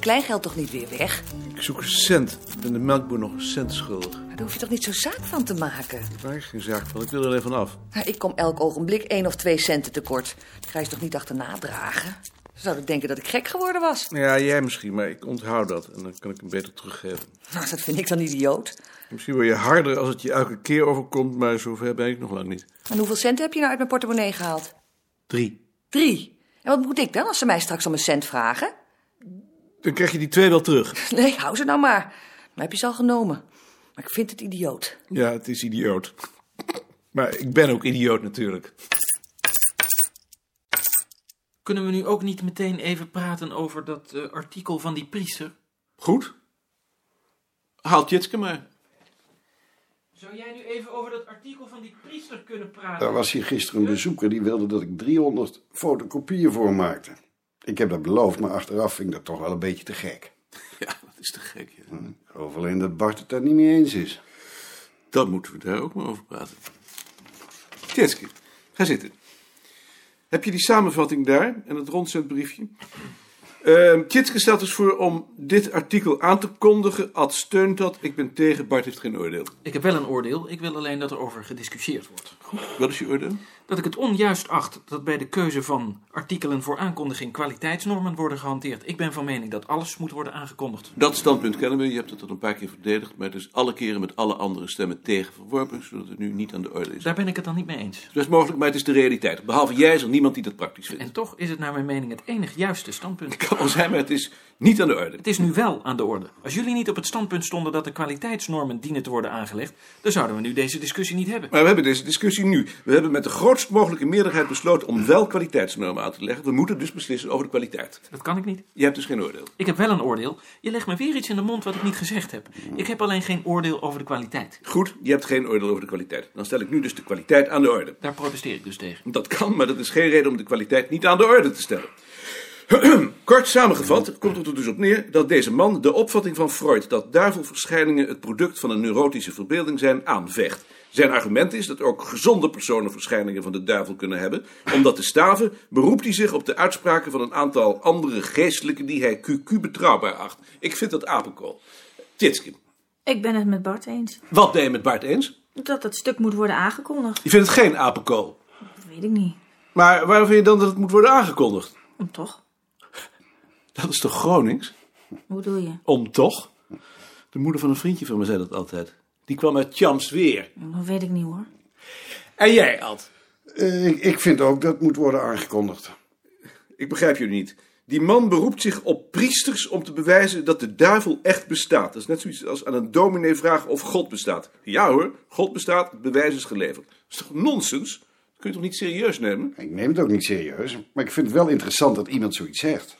kleingeld toch niet weer weg? Ik zoek een cent. Ik ben de melkboer nog een cent schuldig. Maar daar hoef je toch niet zo zaak van te maken? Ik maak er geen zaak van. Ik wil er alleen van af. Nou, ik kom elk ogenblik één of twee centen tekort. Dat ga je ze toch niet achterna dragen? Ze zouden denken dat ik gek geworden was. Nou ja, jij misschien, maar ik onthoud dat. En dan kan ik hem beter teruggeven. Nou, dat vind ik dan idioot. Misschien word je harder als het je elke keer overkomt, maar zover ben ik nog lang niet. En hoeveel centen heb je nou uit mijn portemonnee gehaald? Drie. Drie. En wat moet ik dan als ze mij straks om een cent vragen? Dan krijg je die twee wel terug. Nee, hou ze nou maar. Maar heb je ze al genomen? Maar ik vind het idioot. Ja, het is idioot. Maar ik ben ook idioot natuurlijk. Kunnen we nu ook niet meteen even praten over dat eh, artikel van die priester? Goed. Haal Tjitske maar. Zou jij nu even over dat artikel van die priester kunnen praten? Er was hier gisteren een bezoeker die wilde dat ik 300 fotocopieën voor hem maakte. Ik heb dat beloofd, maar achteraf vind ik dat toch wel een beetje te gek. Ja, dat is te gek. ja. Ik geloof alleen dat Bart het daar niet mee eens is. Dan moeten we daar ook maar over praten. Tjitske, ga zitten. Heb je die samenvatting daar en het rondzendbriefje? Ehm Tjitske stelt dus voor om dit artikel aan te kondigen. Ad steunt dat. Ik ben tegen. Bart heeft geen oordeel. Ik heb wel een oordeel, ik wil alleen dat er over gediscussieerd wordt. Wat is je oordeel? Dat ik het onjuist acht dat bij de keuze van artikelen voor aankondiging kwaliteitsnormen worden gehanteerd. Ik ben van mening dat alles moet worden aangekondigd. Dat standpunt kennen we. Je hebt het al een paar keer verdedigd. Maar het is alle keren met alle andere stemmen tegen verworpen. Zodat het nu niet aan de orde is. Daar ben ik het dan niet mee eens. Het is best mogelijk, maar het is de realiteit. Behalve jij is er niemand die dat praktisch vindt. En toch is het naar mijn mening het enig juiste standpunt. Het kan wel zijn, maar het is niet aan de orde. Het is nu wel aan de orde. Als jullie niet op het standpunt stonden dat de kwaliteitsnormen dienen te worden aangelegd, dan zouden we nu deze discussie niet hebben. Maar we hebben deze discussie nu. We hebben met de grootst mogelijke meerderheid besloten om wel kwaliteitsnormen aan te leggen. We moeten dus beslissen over de kwaliteit. Dat kan ik niet. Je hebt dus geen oordeel. Ik heb wel een oordeel. Je legt me weer iets in de mond wat ik niet gezegd heb. Ik heb alleen geen oordeel over de kwaliteit. Goed, je hebt geen oordeel over de kwaliteit. Dan stel ik nu dus de kwaliteit aan de orde. Daar protesteer ik dus tegen. Dat kan, maar dat is geen reden om de kwaliteit niet aan de orde te stellen. Kort samengevat komt het er dus op neer dat deze man de opvatting van Freud dat duivelverschijningen het product van een neurotische verbeelding zijn aanvecht. Zijn argument is dat ook gezonde personen verschijningen van de duivel kunnen hebben, omdat de staven beroept hij zich op de uitspraken van een aantal andere geestelijken die hij QQ betrouwbaar acht. Ik vind dat apenkool. Titske, Ik ben het met Bart eens. wat ben je met Bart eens? Dat dat stuk moet worden aangekondigd, Je vindt het geen apenkool. dat weet ik niet. Maar waarom vind je dan dat het moet worden aangekondigd? Om toch? Dat is toch Gronings? Hoe bedoel je? Om toch? De moeder van een vriendje van me zei dat altijd. Die kwam uit Champs weer. Dat weet ik niet hoor. En jij, Ad? Eh, ik, ik vind ook dat moet worden aangekondigd. Ik begrijp jullie niet. Die man beroept zich op priesters om te bewijzen dat de duivel echt bestaat. Dat is net zoiets als aan een dominee vragen of God bestaat. Ja hoor, God bestaat, het bewijs is geleverd. Dat is toch nonsens? Dat kun je toch niet serieus nemen? Ik neem het ook niet serieus, maar ik vind het wel interessant dat iemand zoiets zegt.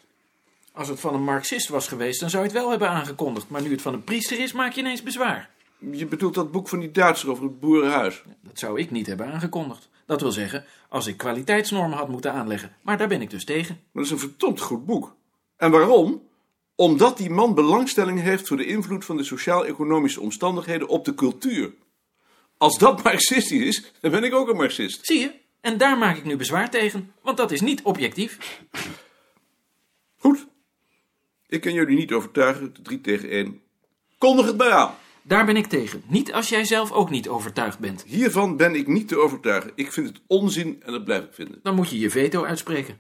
Als het van een marxist was geweest, dan zou je het wel hebben aangekondigd. Maar nu het van een priester is, maak je ineens bezwaar. Je bedoelt dat boek van die Duitser over het boerenhuis. Dat zou ik niet hebben aangekondigd. Dat wil zeggen, als ik kwaliteitsnormen had moeten aanleggen. Maar daar ben ik dus tegen. Maar dat is een verdomd goed boek. En waarom? Omdat die man belangstelling heeft voor de invloed van de sociaal-economische omstandigheden op de cultuur. Als dat marxistisch is, dan ben ik ook een marxist. Zie je? En daar maak ik nu bezwaar tegen, want dat is niet objectief. Goed. Ik kan jullie niet overtuigen. De drie tegen één. Kondig het maar aan. Daar ben ik tegen. Niet als jij zelf ook niet overtuigd bent. Hiervan ben ik niet te overtuigen. Ik vind het onzin en dat blijf ik vinden. Dan moet je je veto uitspreken.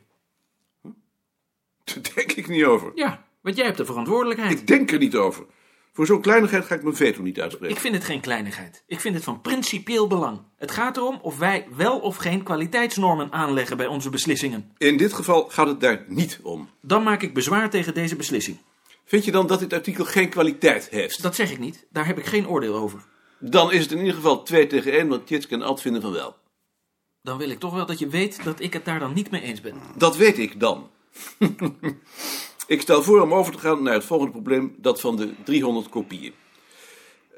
Daar denk ik niet over. Ja, want jij hebt de verantwoordelijkheid. Ik denk er niet over. Voor zo'n kleinigheid ga ik mijn veto niet uitspreken. Ik vind het geen kleinigheid. Ik vind het van principieel belang. Het gaat erom of wij wel of geen kwaliteitsnormen aanleggen bij onze beslissingen. In dit geval gaat het daar niet om. Dan maak ik bezwaar tegen deze beslissing. Vind je dan dat dit artikel geen kwaliteit heeft? Dat zeg ik niet. Daar heb ik geen oordeel over. Dan is het in ieder geval 2 tegen 1, want Tjitske en Ad vinden van wel. Dan wil ik toch wel dat je weet dat ik het daar dan niet mee eens ben. Dat weet ik dan. ik stel voor om over te gaan naar het volgende probleem, dat van de 300 kopieën.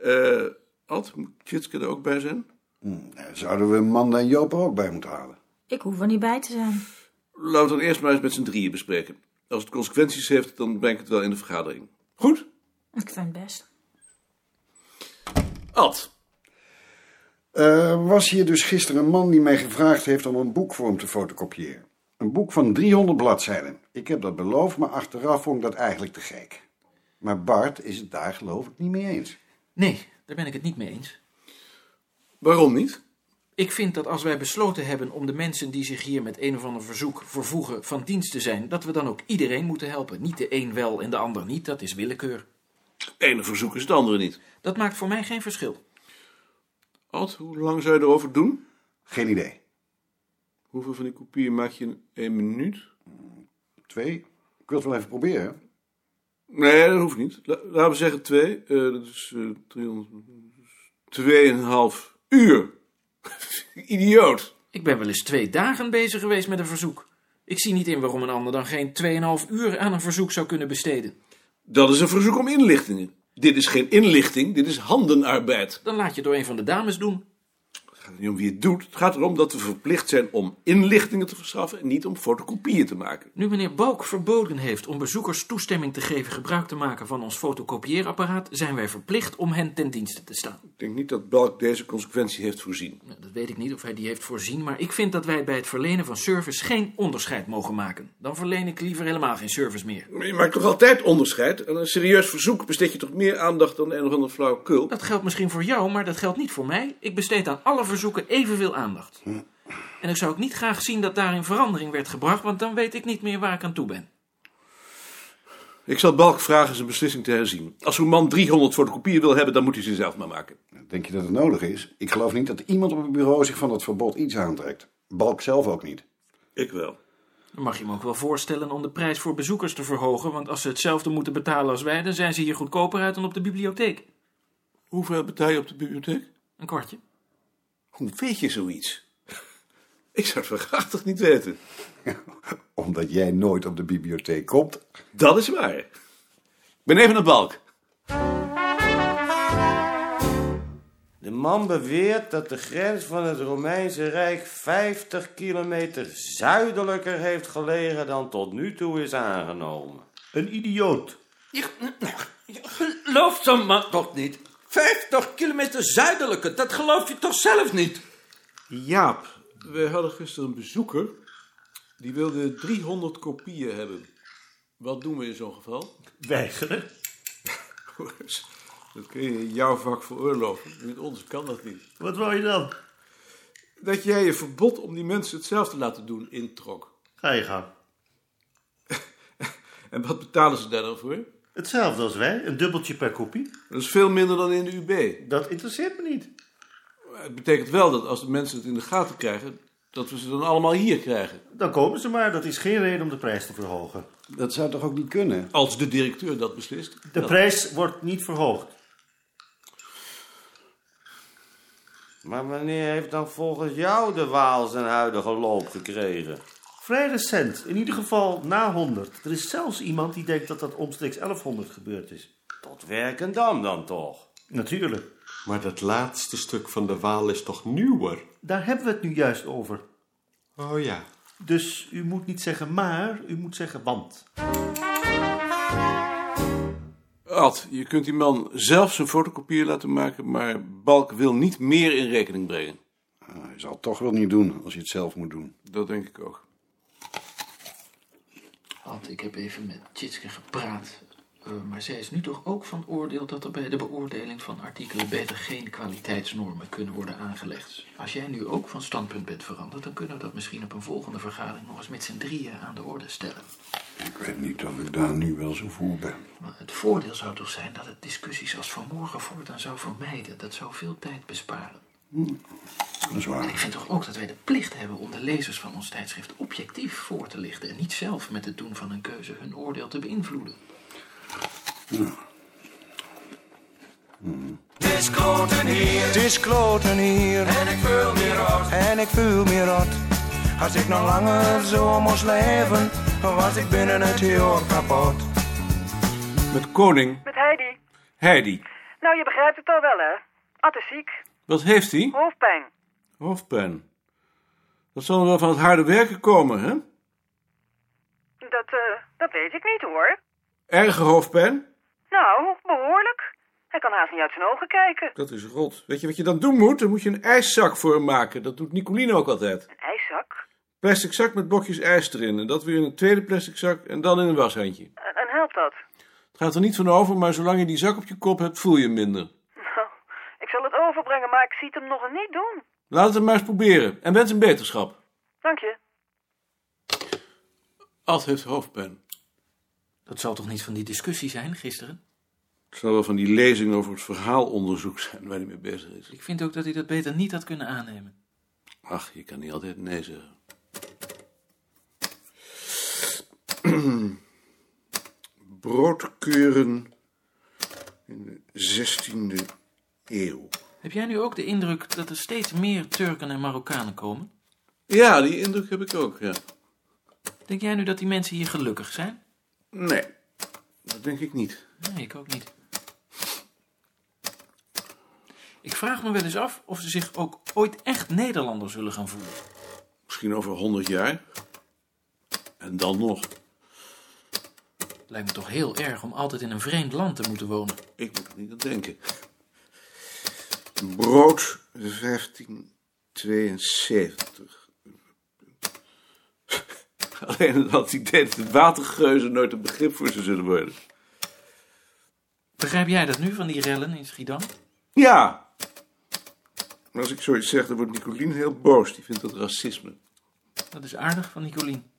Eh Ad, moet Tjitske er ook bij zijn? Daar zouden we Manda en Joop er ook bij moeten halen. Ik hoef er niet bij te zijn. Laten we het dan eerst maar eens met z'n drieën bespreken. Als het consequenties heeft, dan breng ik het wel in de vergadering. Goed? Ik vind het best. Ad, Eh, Er was hier dus gisteren een man die mij gevraagd heeft om een boek voor hem te fotocopiëren. Een boek van 300 bladzijden. Ik heb dat beloofd, maar achteraf vond ik dat eigenlijk te gek. Maar Bart is het daar geloof ik niet mee eens. Nee, daar ben ik het niet mee eens. Waarom niet? Ik vind dat als wij besloten hebben om de mensen die zich hier met een of ander verzoek vervoegen van dienst te zijn, dat we dan ook iedereen moeten helpen. Niet de een wel en de ander niet, dat is willekeur. Het ene verzoek is het andere niet. Dat maakt voor mij geen verschil. Ad, hoe lang zou je erover doen? Geen idee. Hoeveel van die kopieën maak je in één minuut? Twee? Ik wil het wel even proberen. Nee, dat hoeft niet. La- laten we zeggen twee. Eh, dat is eh 300. dus Tweeënhalf uur. Idioot. Ik ben wel eens twee dagen bezig geweest met een verzoek. Ik zie niet in waarom een ander dan geen 2,5 uur aan een verzoek zou kunnen besteden. Dat is een verzoek om inlichtingen. Dit is geen inlichting, dit is handenarbeid. Dan laat je het door een van de dames doen. Het gaat er niet om wie het doet. Het gaat erom dat we verplicht zijn om inlichtingen te verschaffen en niet om fotocopieën te maken. Nu meneer Balk verboden heeft om bezoekers toestemming te geven gebruik te maken van ons fotocopieerapparaat, zijn wij verplicht om hen ten dienste te staan. Ik denk niet dat Balk deze consequentie heeft voorzien. Nou, dat weet ik niet of hij die heeft voorzien, maar ik vind dat wij bij het verlenen van service geen onderscheid mogen maken. Dan verleen ik liever helemaal geen service meer. Maar je maakt toch altijd onderscheid? Aan een serieus verzoek besteed je toch meer aandacht dan een of ander flauwekul? Dat geldt misschien voor jou, maar dat geldt niet voor mij. Ik besteed aan alle verzoeken evenveel aandacht. En ik zou ook niet graag zien dat daarin verandering werd gebracht, want dan weet ik niet meer waar ik aan toe ben. Ik zal Balk vragen zijn beslissing te herzien. Als uw man 300 fotocopieën wil hebben, dan moet hij ze zelf maar maken. Denk je dat het nodig is? Ik geloof niet dat iemand op het bureau zich van dat verbod iets aantrekt. Balk zelf ook niet. Ik wel. Dan mag je me ook wel voorstellen om de prijs voor bezoekers te verhogen, want als ze hetzelfde moeten betalen als wij, dan zijn ze hier goedkoper uit dan op de bibliotheek. Hoeveel betaal je op de bibliotheek? Een kwartje. Hoe weet je zoiets? Ik zou het verachtig niet weten. Omdat jij nooit op de bibliotheek komt. Dat is waar. Ik ben even naar Balk. De man beweert dat de grens van het Romeinse Rijk 50 kilometer zuidelijker heeft gelegen dan tot nu toe is aangenomen. Een idioot. Geloof zo'n man toch niet? 50 kilometer zuidelijker, dat geloof je toch zelf niet? Jaap, we hadden gisteren een bezoeker. Die wilde 300 kopieën hebben. Wat doen we in zo'n geval? Weigeren. Dat kun je in jouw vak veroorloven. Met ons kan dat niet. Wat wou je dan? Dat jij je verbod om die mensen hetzelfde te laten doen introk. Ga je gang. En wat betalen ze daar dan voor? Hetzelfde als wij, een dubbeltje per kopie. Dat is veel minder dan in de UB. Dat interesseert me niet. Maar het betekent wel dat als de mensen het in de gaten krijgen, dat we ze dan allemaal hier krijgen. Dan komen ze maar, dat is geen reden om de prijs te verhogen. Dat zou toch ook niet kunnen? Als de directeur dat beslist. De prijs wordt niet verhoogd. Maar wanneer heeft dan volgens jou de Waal zijn huidige loop gekregen? Vrij recent, in ieder geval na 100. Er is zelfs iemand die denkt dat dat omstreeks 1100 gebeurd is. Tot Werkendam dan toch? Natuurlijk, Maar dat laatste stuk van de Waal is toch nieuwer? daar hebben we het nu juist over. Oh ja. Dus u moet niet zeggen maar, u moet zeggen want. Ad, je kunt die man zelf zijn fotocopieën laten maken, maar Balk wil niet meer in rekening brengen. Ah, je zal het toch wel niet doen als je het zelf moet doen. Dat denk ik ook. Want ik heb even met Tjitske gepraat. eh, maar zij is nu toch ook van oordeel dat er bij de beoordeling van artikelen beter geen kwaliteitsnormen kunnen worden aangelegd. Als jij nu ook van standpunt bent veranderd, dan kunnen we dat misschien op een volgende vergadering nog eens met z'n drieën aan de orde stellen. Ik weet niet of ik daar nu wel zo voor ben. Maar het voordeel zou toch zijn dat het discussies als vanmorgen voortaan zou vermijden. Dat zou veel tijd besparen. Dat is En ik waar. vind toch ook dat wij de plicht hebben om de lezers van ons tijdschrift objectief voor te lichten. En niet zelf met het doen van een keuze hun oordeel te beïnvloeden. Het is kloten hier. En ik voel me rot. En ik voel me rot. Als ik nog langer zo moest leven, dan was ik binnen het jaar kapot. Met koning Met Heidi. Heidi. Nou, je begrijpt het al wel, hè? Ad is ziek. Wat heeft hij? Hoofdpijn. Hoofdpijn. Dat zal wel van het harde werken komen, hè? Dat, eh, dat weet ik niet, hoor. Erge hoofdpijn? Nou, behoorlijk. Hij kan haast niet uit zijn ogen kijken. Dat is rot. Weet je wat je dan doen moet? Dan moet je een ijszak voor hem maken. Dat doet Nicoline ook altijd. Een ijszak? Plastic zak met blokjes ijs erin. En dat weer in een tweede plastic zak en dan in een washandje. En, en helpt dat? Het gaat er niet van over, maar zolang je die zak op je kop hebt, voel je hem minder. Nou, ik zal het overbrengen, maar ik zie het hem nog niet doen. Laat het hem maar eens proberen. En wens hem beterschap. Dank je. Ad heeft hoofdpijn. Dat zal toch niet van die discussie zijn gisteren? Het zal wel van die lezing over het verhaalonderzoek zijn waar hij mee bezig is. Ik vind ook dat hij dat beter niet had kunnen aannemen. Ach, je kan niet altijd nee zeggen. Broodkeuren in de 16e eeuw. Heb jij nu ook de indruk dat er steeds meer Turken en Marokkanen komen? Ja, die indruk heb ik ook, ja. Denk jij nu dat die mensen hier gelukkig zijn? Nee, dat denk ik niet. Nee, ik ook niet. Ik vraag me wel eens af of ze zich ook ooit echt Nederlander zullen gaan voelen. Misschien over 100 jaar. En dan nog. Lijkt me toch heel erg om altijd in een vreemd land te moeten wonen. Ik moet er niet aan denken. Brood 1572. Alleen dat idee dat de watergeuzen nooit een begrip voor ze zullen worden. Begrijp jij dat nu van die rellen in Schiedam? Ja. Maar als ik zoiets zeg, dan wordt Nicolien heel boos. Die vindt dat racisme. Dat is aardig van Nicolien.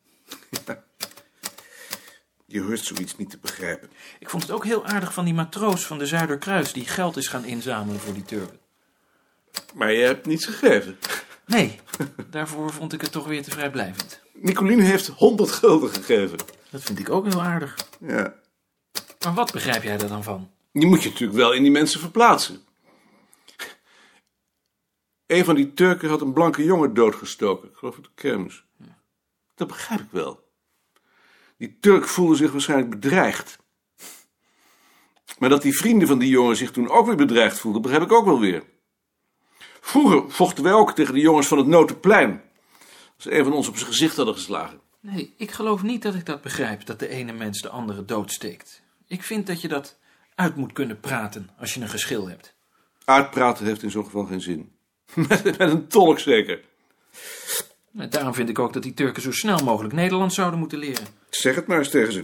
Je hoort zoiets niet te begrijpen. Ik vond het ook heel aardig van die matroos van de Zuiderkruis die geld is gaan inzamelen voor die Turken. Maar je hebt niets gegeven. Nee, daarvoor vond ik het toch weer te vrijblijvend. Nicolien heeft 100 gulden gegeven. Dat vind ik ook heel aardig. Ja. Maar wat begrijp jij daar dan van? Je moet je natuurlijk wel in die mensen verplaatsen. Een van die Turken had een blanke jongen doodgestoken. Ik geloof het de kermis. Dat begrijp ik wel. Die Turk voelde zich waarschijnlijk bedreigd. Maar dat die vrienden van die jongen zich toen ook weer bedreigd voelden, begrijp ik ook wel weer. Vroeger vochten wij ook tegen de jongens van het Notenplein. Als een van ons op zijn gezicht hadden geslagen. Nee, ik geloof niet dat ik dat begrijp, dat de ene mens de andere doodsteekt. Ik vind dat je dat uit moet kunnen praten als je een geschil hebt. Uitpraten heeft in zo'n geval geen zin. Met, met een tolk zeker. En Nou, daarom vind ik ook dat die Turken zo snel mogelijk Nederlands zouden moeten leren. Zeg het maar eens tegen ze.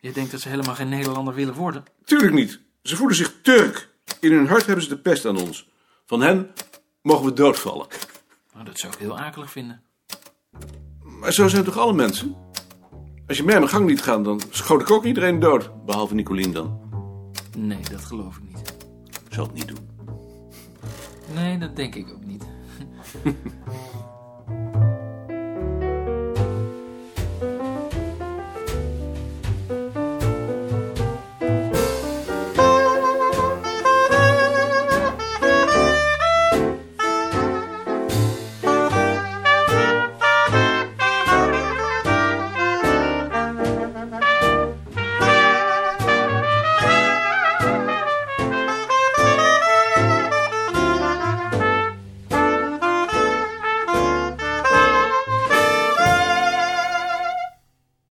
Je denkt dat ze helemaal geen Nederlander willen worden? Tuurlijk niet. Ze voelen zich Turk. In hun hart hebben ze de pest aan ons. Van hen mogen we doodvallen. Nou, dat zou ik heel akelig vinden. Maar zo zijn toch alle mensen? Als je mij mijn gang liet gaan, dan schoot ik ook iedereen dood. Behalve Nicolien dan. Nee, dat geloof ik niet. Ik zal het niet doen. Nee, dat denk ik ook niet.